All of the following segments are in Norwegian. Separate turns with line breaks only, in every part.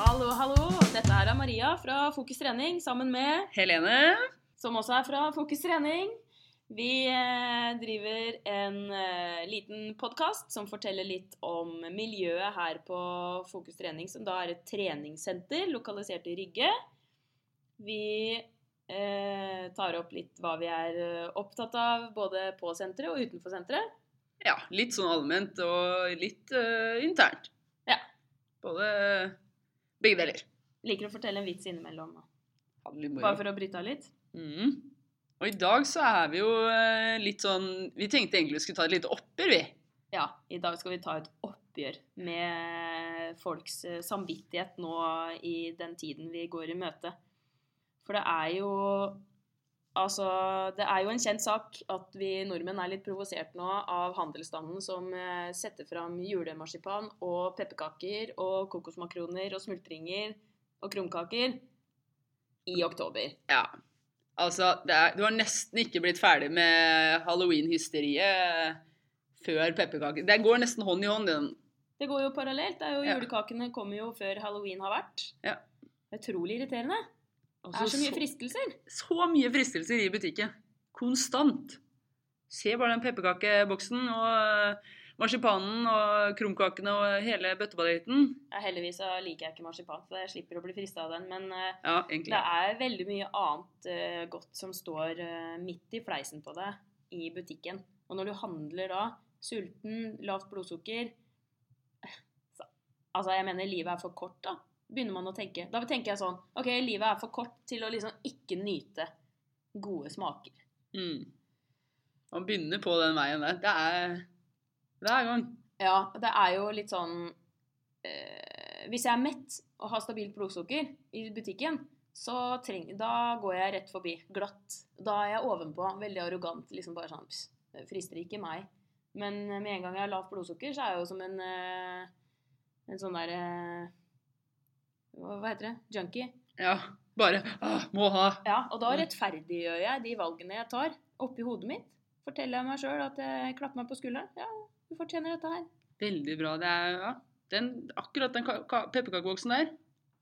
hallo. Dette her er Maria fra Fokus trening sammen med
Helene.
som også er fra Fokus trening. Vi eh, driver en eh, liten podkast som forteller litt om miljøet her på Fokus trening, som da er et treningssenter lokalisert i Rygge. Vi eh, tar opp litt hva vi er eh, opptatt av både på senteret og utenfor senteret.
Ja, litt sånn allment og litt eh, internt.
Ja.
Både begge deler.
Liker å fortelle en vits innimellom, da.
Ha det litt moro.
bare for å bryte av litt.
Mhm. Og i dag så er vi jo eh, litt sånn Vi tenkte egentlig vi skulle ta et lite oppgjør, vi.
Ja, i dag skal vi ta et oppgjør med folks eh, samvittighet nå i den tiden vi går i møte. For det er jo Altså, det er jo en kjent sak at vi nordmenn er litt provosert nå av handelsstanden som eh, setter fram julemarsipan og pepperkaker og kokosmakroner og smultringer og krumkaker i oktober.
Ja. Altså, det er, du har nesten ikke blitt ferdig med halloween-hysteriet før pepperkaker. Det går nesten hånd i hånd, den.
Det går jo parallelt. Det er jo,
Ja.
Julekakene kommer jo før halloween har vært.
Ja.
Utrolig irriterende. Det
Altså,
er så mye fristelser.
så mye fristelser i butikken. Konstant. Se bare den pepperkakeboksen og eh, marsipanen og krumkakene og hele bøtteballetten.
Ja, heldigvis så liker jeg ikke marsipan, så jeg slipper å bli frista av den. Men eh,
Ja,
det
egentlig.
er veldig mye annet eh, godt som står eh, midt i fleisen på deg i butikken. Og når du handler da, sulten, lavt blodsukker eh, så, Altså, jeg mener livet er for kort, da. Begynner man å tenke. Da tenker jeg sånn OK, livet er for kort til å liksom ikke nyte gode smaker.
Mm. Man begynner på den veien der. Det er hver gang.
Ja, det er jo litt sånn eh, Hvis jeg er mett og har stabilt blodsukker i butikken, så treng, da går jeg rett forbi. Glatt. Da er jeg ovenpå. Veldig arrogant. Liksom bare sånn «Pss, Det frister ikke meg. Men med en gang jeg har lavt blodsukker, så er jeg jo som en eh, En sånn derre Hva hva heter det? Junkie.
Ja, bare ah, må ha.
Ja, og da
Mm.
rettferdiggjør jeg de valgene jeg tar, oppi hodet mitt. Forteller jeg meg sjøl at jeg klapper meg på skulderen. Ja, du fortjener dette her.
Veldig bra. Det er ja. den, akkurat den ka- ka- pepperkakeboksen der,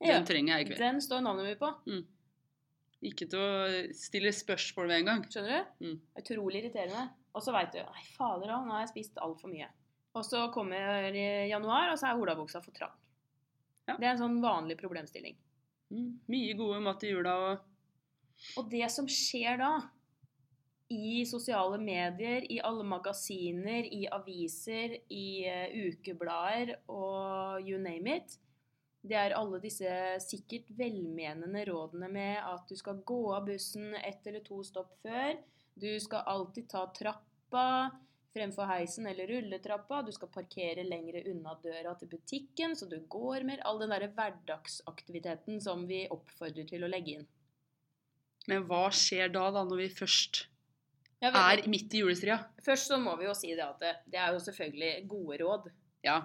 Ja.
den trenger jeg i kveld.
Den står navnet mitt på.
Ikke til å stille spørsmål ved engang.
Skjønner du?
Mm.
Utrolig irriterende. Og så veit du Nei, fader òg, nå har jeg spist altfor mye. Og så kommer i januar, og så er olabuksa for trang.
Ja.
Det er en sånn vanlig problemstilling.
Mm. Mye gode mat i jula og
Og det som skjer da, i sosiale medier, i alle magasiner, i aviser, i eh, ukeblader og you name it, det er alle disse sikkert velmenende rådene med at du skal gå av bussen ett eller to stopp før, du skal alltid ta trappa fremfor heisen eller rulletrappa, du skal parkere lengre unna døra til butikken, så du går mer, all den derre hverdagsaktiviteten som vi oppfordrer til å legge inn.
Men hva skjer da, da, når vi først
Jeg vet
er midt i julestria?
Først så må vi jo si det at det, det er jo selvfølgelig gode råd,
Ja.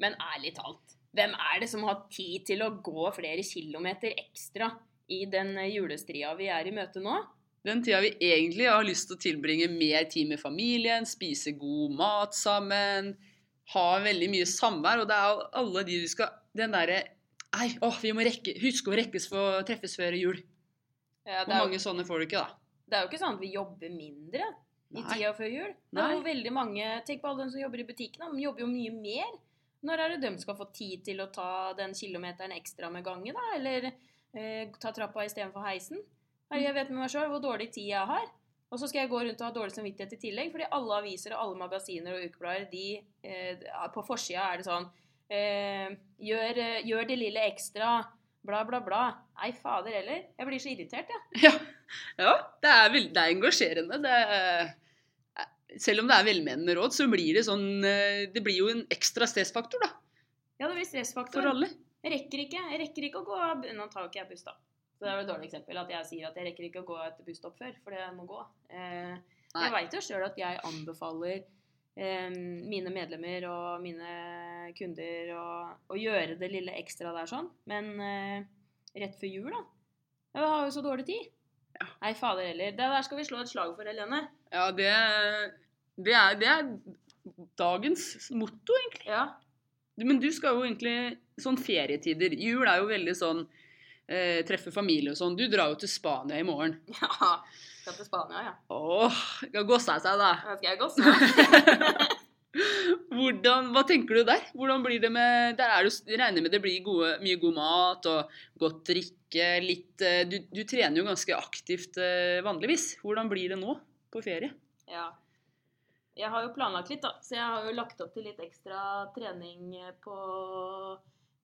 men ærlig talt, hvem er det som har tid til å gå flere kilometer ekstra i den julestria vi er i møte nå?
Den tida vi egentlig har lyst til å tilbringe mer tid med familien, spise god mat sammen, ha veldig mye samvær, og det er jo alle de du skal Den derre Nei, åh, vi må rekke, huske å rekkes for å treffes før jul.
Ja,
Hvor
det, er,
mange
jo-
sånne får du ikke, da?
det er jo ikke sånn at vi jobber mindre i
Nei.
tida før jul. Det er jo
Nei.
veldig mange, Tenk på alle de som jobber i butikkene, de jobber jo mye mer. Når er det de skal få tid til å ta den kilometeren ekstra med gange, da? Eller eh, ta trappa istedenfor heisen? Herre, jeg vet med meg sjøl hvor dårlig tid jeg har. Og så skal jeg gå rundt og ha dårlig samvittighet i tillegg, fordi alle aviser og alle magasiner og ukeblader, de eh, På forsida er det sånn eh, gjør, eh, gjør det lille ekstra. Bla, bla, bla. Nei, fader heller. Jeg blir så irritert, jeg.
Ja, ja det, er vel, det er engasjerende. Det er, selv om det er velmenende råd, så blir det sånn eh, Det blir jo en ekstra stressfaktor, da.
Ja, det blir stressfaktor.
For alle.
Jeg rekker ikke. Jeg rekker ikke å gå av bu- Nå tar jo ikke jeg buss, da. Så det er jo et dårlig eksempel at jeg sier at jeg rekker ikke å gå et busstopp før, for det må gå. Eh,
Nei.
jeg veit jo sjøl at jeg anbefaler eh, mine medlemmer og mine kunder å, å gjøre det lille ekstra der sånn, men eh, rett før jul, da. Jeg har jo så dårlig tid. Nei, fader heller. Det der skal vi slå et slag for, Helene.
Ja, det, det, er, det er dagens motto, egentlig.
Ja.
Men du skal jo egentlig sånn ferietider Jul er jo veldig sånn eh, treffe familie og sånn. Du drar jo til Spania i morgen.
Ja. Skal til Spania, ja.
Åh, skal gåsa seg, da.
Da skal jeg gå snart.
Hvordan, hva tenker du der? Hvordan blir det med Der er det, jo- jeg regner med det blir gode, mye god mat og godt drikke. Litt, eh, du, du trener jo ganske aktivt eh, vanligvis. Hvordan blir det nå på ferie?
Ja. Jeg har jo planlagt litt, da. Så jeg har jo lagt opp til litt ekstra trening eh, på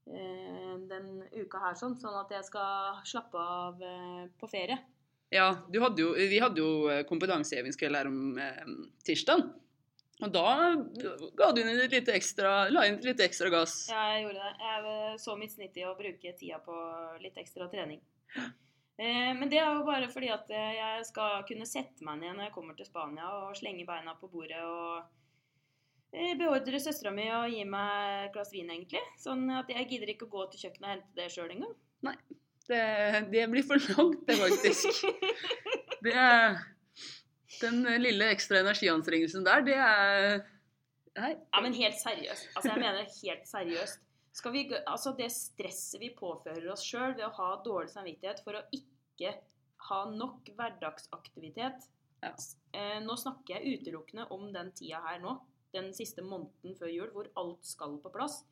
eh, den uka her, sånn. Sånn at jeg skal slappe av eh, på ferie.
Ja, du hadde jo, vi hadde jo eh, kompetansehevingskveld her om eh, tirsdagen. Og da eh, ga du inn et lite ekstra, la inn et lite ekstra gass.
Ja, jeg gjorde det. Jeg eh, så mitt snitt i å bruke tida på litt ekstra trening. Eh, Men det er jo bare fordi at eh, jeg skal kunne sette meg ned når jeg kommer til Spania og slenge beina på bordet og eh, beordre søstera mi å gi meg et glass vin, egentlig. Sånn at jeg gidder ikke å gå til kjøkkenet og hente det sjøl engang.
Det, det blir for langt, det, faktisk. Det er, den lille ekstra energianstrengelsen der, det er Nei.
Ja, men helt seriøst. Altså, jeg mener helt seriøst. Skal vi, gå- altså, det stresset vi påfører oss sjøl ved å ha dårlig samvittighet for å ikke ha nok hverdagsaktivitet
Ja.
eh, Nå snakker jeg utelukkende om den tida her nå, den siste måneden før jul, hvor alt skal på plass.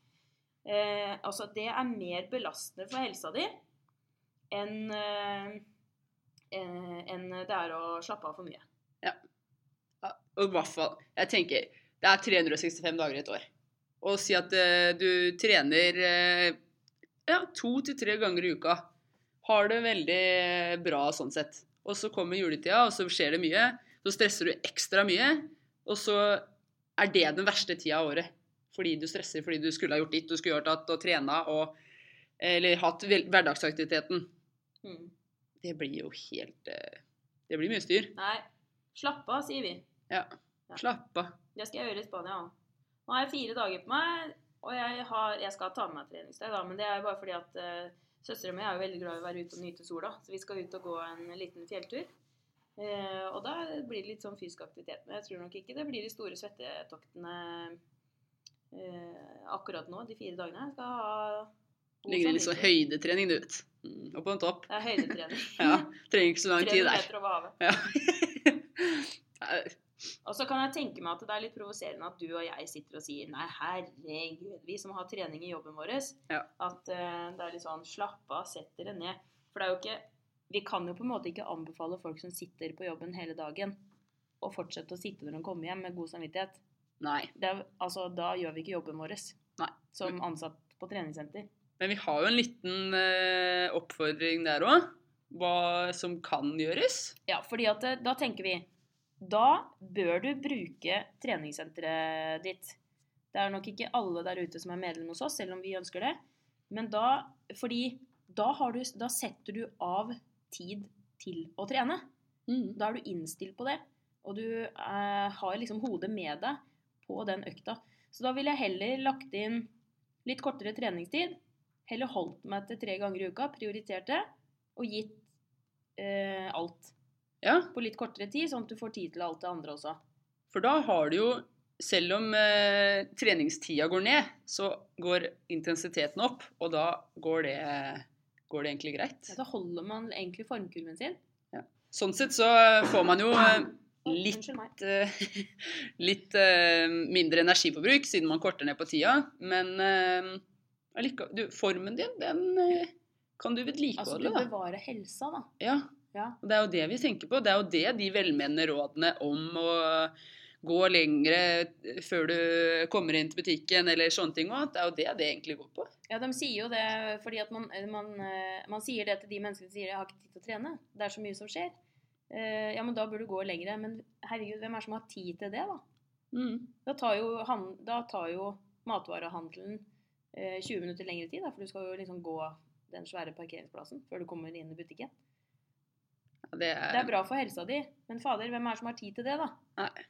Eh, altså, det er mer belastende for helsa di enn eh, eh, enn det er å slappe av for mye.
Ja, Og i hvert fall Jeg tenker det er 365 dager i et år. Og si at eh, du trener eh, ja, to til tre ganger i uka. Har det veldig bra sånn sett. Og så kommer juletida, og så skjer det mye. Så stresser du ekstra mye. Og så er det den verste tida av året. Fordi du stresser fordi du skulle ha gjort ditt, du skulle gjort datt og trena og Eller hatt vel- hverdagsaktiviteten.
Mm.
Det blir jo helt eh, Det blir mye styr.
Nei, slapp av, sier vi.
Ja.
Ja.
Slapp av.
Det skal jeg gjøre i Spania òg. Nå har jeg fire dager på meg, og jeg, har, jeg skal ta med meg treningstøy, da, men det er bare fordi at uh, søstera mi er jo veldig glad i å være ute og nyte sola, så vi skal ut og gå en liten fjelltur. Eh, og da blir det litt sånn fysisk aktivitet, men jeg tror nok ikke det blir de store svettetoktene eh, akkurat nå, de fire dagene. Jeg skal ha god
Ligger i litt sånn
samvittighet.
høydetrening, du vet. Mm, Opp på en topp.
Det er høydetrening.
Ja, trenger ikke så lang
300
tid der.
meter over havet.
Ja. Eh,
Og så kan jeg tenke meg at det er litt provoserende at du og jeg sitter og sier Nei, herregud, vi som har trening i jobben vår,
Ja.
at eh, det er litt sånn Slapp av, sett dere ned. For det er jo ikke Vi kan jo på en måte ikke anbefale folk som sitter på jobben hele dagen, å fortsette å sitte når de kommer hjem med god samvittighet.
Nei.
Det er, altså, da gjør vi ikke jobben vår
Nei.
som ansatt på treningssenter.
Men vi har jo en liten eh, oppfordring der òg. Hva som kan gjøres.
Ja, fordi at eh, da tenker vi Da bør du bruke treningssenteret ditt. Det er nok ikke alle der ute som er medlem hos oss, selv om vi ønsker det. Men da Fordi da, har du, da setter du av tid til å trene.
Mm.
Da er du innstilt på det. Og du eh, har liksom hodet med deg på den økta. Så da ville jeg heller lagt inn litt kortere treningstid. Heller holdt meg til tre ganger i uka, prioritert det, og gitt eh, alt
Ja,
på litt kortere tid, sånn at du får tid til alt det andre også.
for da har du jo Selv om eh, treningstida går ned, så går intensiteten opp, og da går det, går det egentlig greit.
Ja, Da holder man egentlig formkurven sin.
Sånn sett så får man jo eh,
Oi,
litt
Unnskyld meg.
eh, litt eh, mindre energiforbruk siden man korter ned på tida, men eh, allike- du, formen din, den eh, kan du
Altså, du
vedlikeholde, da.
bevarer helsa, da.
Ja.
Ja.
Og det er jo det vi tenker på. Det er jo det de velmenende rådene om å gå lengre eh, før du kommer inn til butikken eller sånne ting òg, det er jo det det egentlig går på.
Ja, de sier jo det fordi at man, man, eh, man sier det til de menneskene som sier 'jeg har ikke tid til å trene', det er så mye som skjer. Eh, ja, men da burde du gå lengre. Men herregud, hvem er det som har tid til det, da?
Mm.
Da tar jo, han, da tar jo matvarehandelen eh, 20 minutter lengre tid, da, for du skal jo liksom gå den svære parkeringsplassen før du kommer inn i butikken.
Ja, Det
Det er
er,
bra for helsa di, men fader, hvem er det som har tid til det, da?
Nei.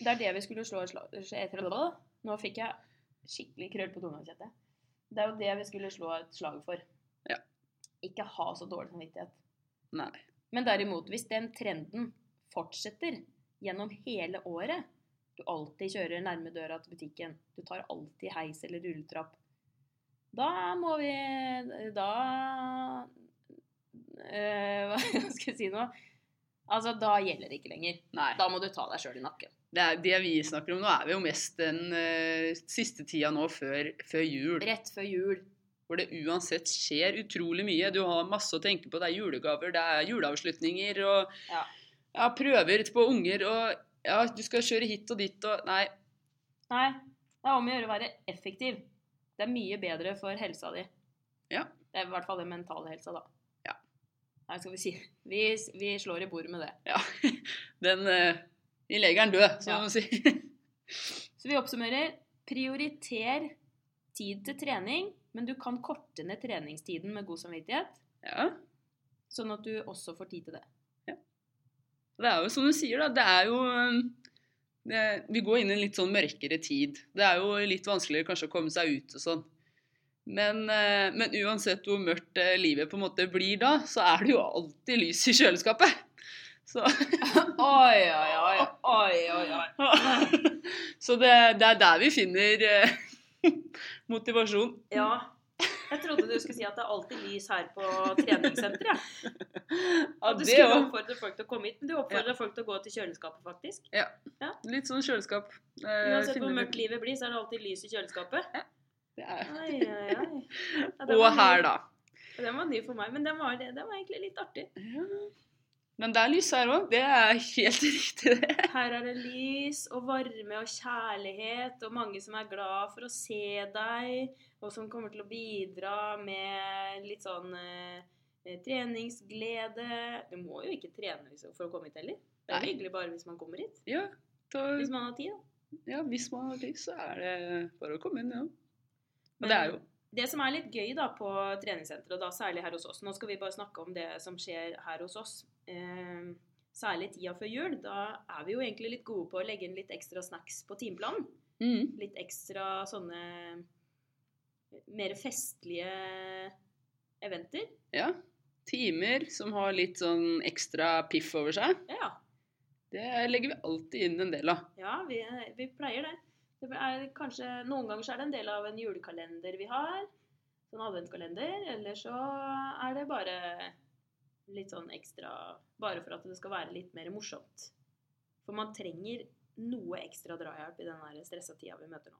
Det er det vi skulle slå et slag etter det. Nå fikk jeg skikkelig krøll på tunga, kjente jeg. Det er jo det vi skulle slå et slag for.
Ja.
Ikke ha så dårlig samvittighet.
nei.
Men derimot, hvis den trenden fortsetter gjennom hele året, du alltid kjører nærme døra til butikken. Du tar alltid heis eller rulletrapp. Da må vi Da eh, Hva skal jeg si nå? Altså, da gjelder det ikke lenger.
Nei.
Da må du ta deg sjøl i nakken.
Det, er, det vi snakker om nå, er jo mest den eh, siste tida nå før, før jul.
Rett før jul.
Hvor det uansett skjer utrolig mye. Du har masse å tenke på. Det er julegaver, det er juleavslutninger og
Ja.
ja, prøver på unger og ja, du skal kjøre hit og dit og Nei.
Nei, det er om å gjøre å være effektiv. Det er mye bedre for helsa di.
Ja.
Det er i hvert fall den mentale helsa, da.
Ja.
Nei, skal vi si Vi, vi slår i bordet med det.
Ja. Den eh, Vi legger den død, som
Ja.
man sier.
Så vi oppsummerer. Prioriter tid til trening, men du kan korte ned treningstiden med god samvittighet,
Ja.
sånn at du også får tid til det.
Det er jo som du sier, da. Det er jo øhm, det, Vi går inn i en litt sånn mørkere tid. Det er jo litt vanskeligere kanskje å komme seg ut og sånn. Men, øh, men uansett hvor mørkt øh, livet på en måte blir da, så er det jo alltid lys i kjøleskapet. Så,
Oi, oi, oi. oi, oi, oi.
så det, det er der vi finner øh, motivasjon.
Ja. Jeg trodde du skulle si at det er alltid lys her på treningssenteret.
Ja,
At du
det
skulle
også.
oppfordre folk til å komme hit, men du oppfordrer folk til å gå til kjøleskapet, faktisk.
Litt sånn kjøleskap. øh,
Uansett hvor
finner-
mørkt livet blir, så er det alltid lys i kjøleskapet.
Det er.
Ai, ai, ai. Ja, den
Og
var ny.
her, da.
Den var ny for meg, men den var, den var egentlig litt artig.
Ja. Men det er lys her òg. Det er helt riktig, det.
Her er det lys og varme og kjærlighet og mange som er glad for å se deg, og som kommer til å bidra med litt sånn eh, treningsglede. Du må jo ikke trene hvis- for å komme hit heller. Det er
Nei. Mm.
hyggelig bare hvis man kommer hit.
Ja, da,
Hvis man har tid, da.
ja, hvis man har tid, så er det bare å komme inn, ja. Og det er jo
Det som er litt gøy da på treningssenteret, og da særlig her hos oss Nå skal vi bare snakke om det som skjer her hos oss. Eh, særlig tida før jul. Da er vi jo egentlig litt gode på å legge inn litt ekstra snacks på timeplanen.
mm,
Litt ekstra sånne mer festlige eventer.
Ja. Timer som har litt sånn ekstra piff over seg.
Ja,
Det legger vi alltid inn en del av.
ja vi, vi pleier det. det er kanskje, noen ganger så er det en del av en julekalender vi har. En adventkalender. Eller så er det bare litt sånn ekstra Bare for at det skal være litt mer morsomt. For man trenger noe ekstra drahjelp i den her stressa tida vi møter nå.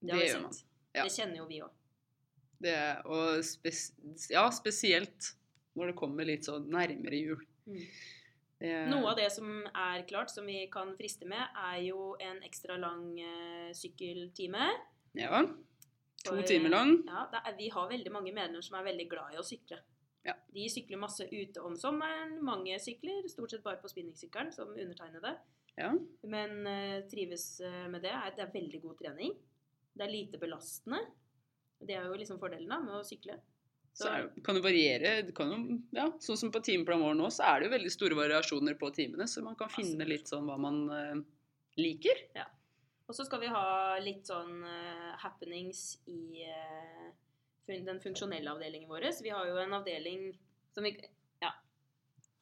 Det, har vi
gjør
sett.
man. ja.
Det kjenner jo vi òg.
Det, og spes ja, spesielt når det kommer litt sånn nærmere jul.
Mm.
Det,
Noe av det som er klart, som vi kan friste med, er jo en ekstra lang eh, sykkeltime.
Ja. To
For, eh,
timer lang.
Ja, det er, vi har veldig mange medlemmer som er veldig glad i å sykle.
Ja.
De sykler masse ute om sommeren. Mange sykler, stort sett bare på spinningsykkelen, som undertegnede.
Ja.
Men eh, trives eh, med det. Er, det er veldig god trening. Det er lite belastende. Det er jo liksom fordelen da, med å sykle.
Så er, det- kan det variere. Det kan jo, ja, sånn som på timeplanen vår nå, så er det jo veldig store variasjoner på timene, så man kan finne litt sånn hva man eh, liker.
Og så skal vi ha litt sånn eh, happenings i eh, fun- den funksjonelle avdelingen vår. Vi har jo en avdeling som vi Ja.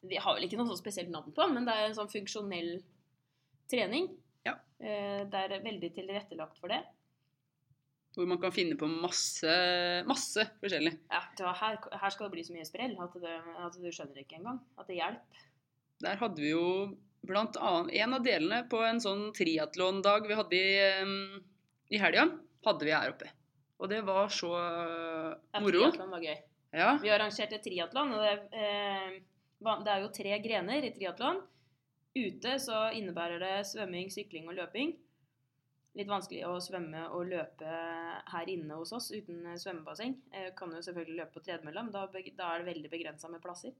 Vi har vel ikke noe sånn spesielt navn på, men det er en sånn funksjonell trening.
Ja.
Eh, det er veldig tilrettelagt for det.
Hvor man kan finne på masse, masse forskjellig.
Ja, det var her, her skal det bli så mye sprell at, det, at du skjønner ikke engang at det hjelper.
Der hadde vi jo blant annet en av delene på en sånn triatlondag vi hadde i, em, i helga, hadde vi her oppe. Og det var så eh,
Ja,
moro.
Triatlon var gøy.
Ja,
Vi arrangerte triatlon, og det, eh, va- det er jo tre grener i triatlon. Ute så innebærer det svømming, sykling og løping. Litt vanskelig å svømme og løpe her inne hos oss uten eh, svømmebasseng. Eh, Kan jo selvfølgelig løpe på tredemølla, men da, beg- da er det veldig begrensa med plasser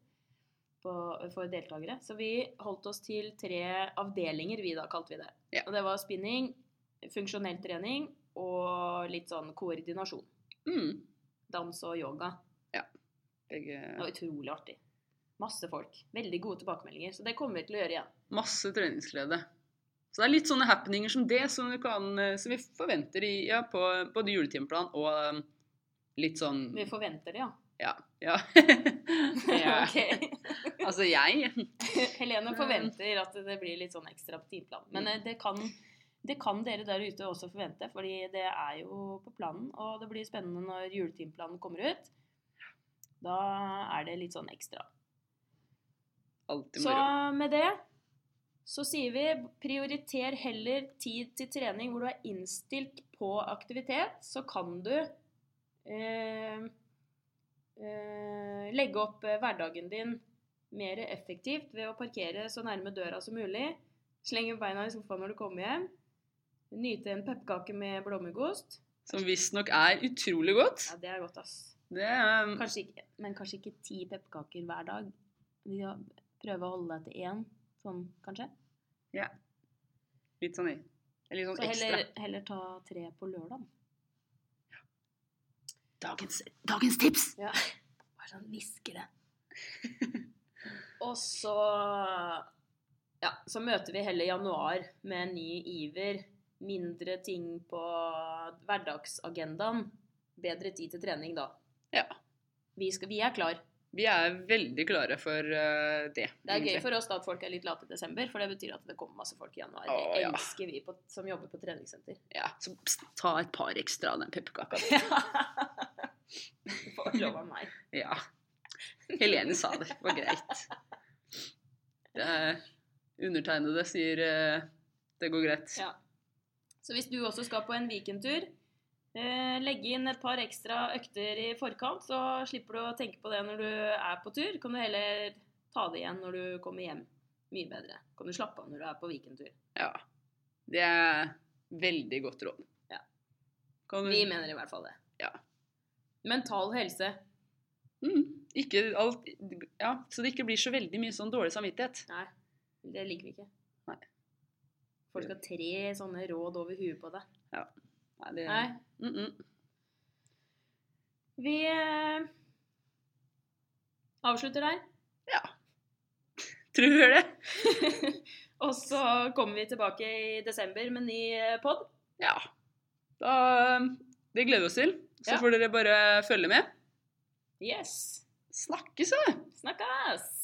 på, for deltakere. Så vi holdt oss til tre avdelinger, vi da, kalte vi det.
Ja.
Og det var spinning, funksjonell trening og litt sånn koordinasjon.
mm,
Dans og yoga. Det
begge,
var utrolig artig. Masse folk. Veldig gode tilbakemeldinger. Så det kommer vi til å gjøre igjen.
masse treningsglede. Så det er litt sånne happeninger som det som, du kan, eh, som vi forventer i, ja, på både juletimeplan og em, litt sånn
Vi forventer det, ja.
Ja. ja.
Ok.
Altså jeg
Helene forventer at det blir litt sånn ekstra på timeplanen. Men eh, det kan Det kan dere der ute også forvente, fordi det er jo på planen. Og det blir spennende når juletimeplanen kommer ut. Da er det litt sånn ekstra.
Alltid
Så
moro.
med det så sier vi prioriter heller tid til trening hvor du er innstilt på aktivitet. Så kan du eh, eh, legge opp eh, hverdagen din mer effektivt ved å parkere så nærme døra som mulig. Slenge beina i sofaen når du kommer hjem. Nyte en pepperkake med blåmuggost.
Som visstnok er utrolig godt.
Ja, det er godt, ass.
Det ehm, er
Kanskje ikke, men kanskje ikke ti pepperkaker hver dag. Vi har- Prøve å holde deg til én, sånn kanskje.
litt sånn, litt sånn
Så
ekstra.
heller, heller ta tre på lørdag.
Dagens, dagens tips!
Ja. Bare sånn hviske det. Og så Ja, så møter vi heller januar med en ny iver. Mindre ting på hverdagsagendaen. Bedre tid til trening, da.
Ja.
Vi, skal, vi er klar.
Vi er veldig klare for eh, det.
Det er gøy
egentlig.
for oss da at folk er litt late i desember, for det betyr at det kommer masse folk i januar. Det
Å, ja.
elsker vi på, som jobber på treningssenter.
Ja, så pst, ta et par ekstra av den pepperkaka.
du får lov av meg.
Ja. Helene sa det. Det var greit. Det er undertegnede sier eh, det går greit.
Ja. Så hvis du også skal på en weekendtur, eh, legge inn et par ekstra økter i forkant, så slipper du å tenke på det når du er på tur. Kan du heller ta det igjen når du kommer hjem. Mye bedre. Kan du slappe av når du er på weekendtur.
Ja. Det er veldig godt råd.
Ja.
Kan du...
Vi mener i hvert fall det.
Mm. Ja.
Mental helse.
Mm, ikke alt Ja, så det ikke blir så veldig mye sånn dårlig samvittighet.
Nei, det liker vi ikke.
Nei.
Folk har tre sånne råd over huet på deg.
Nei, det...
Nei.
Mm -mm.
Vi eh, avslutter der.
Tror du det?
Og så kommer vi tilbake i desember med ny eh, pod.
Ja. Da, eh, det gleder vi oss til. Så
Ja.
får dere bare følge med.
Yes.
Snakkes, da!
Snakkes!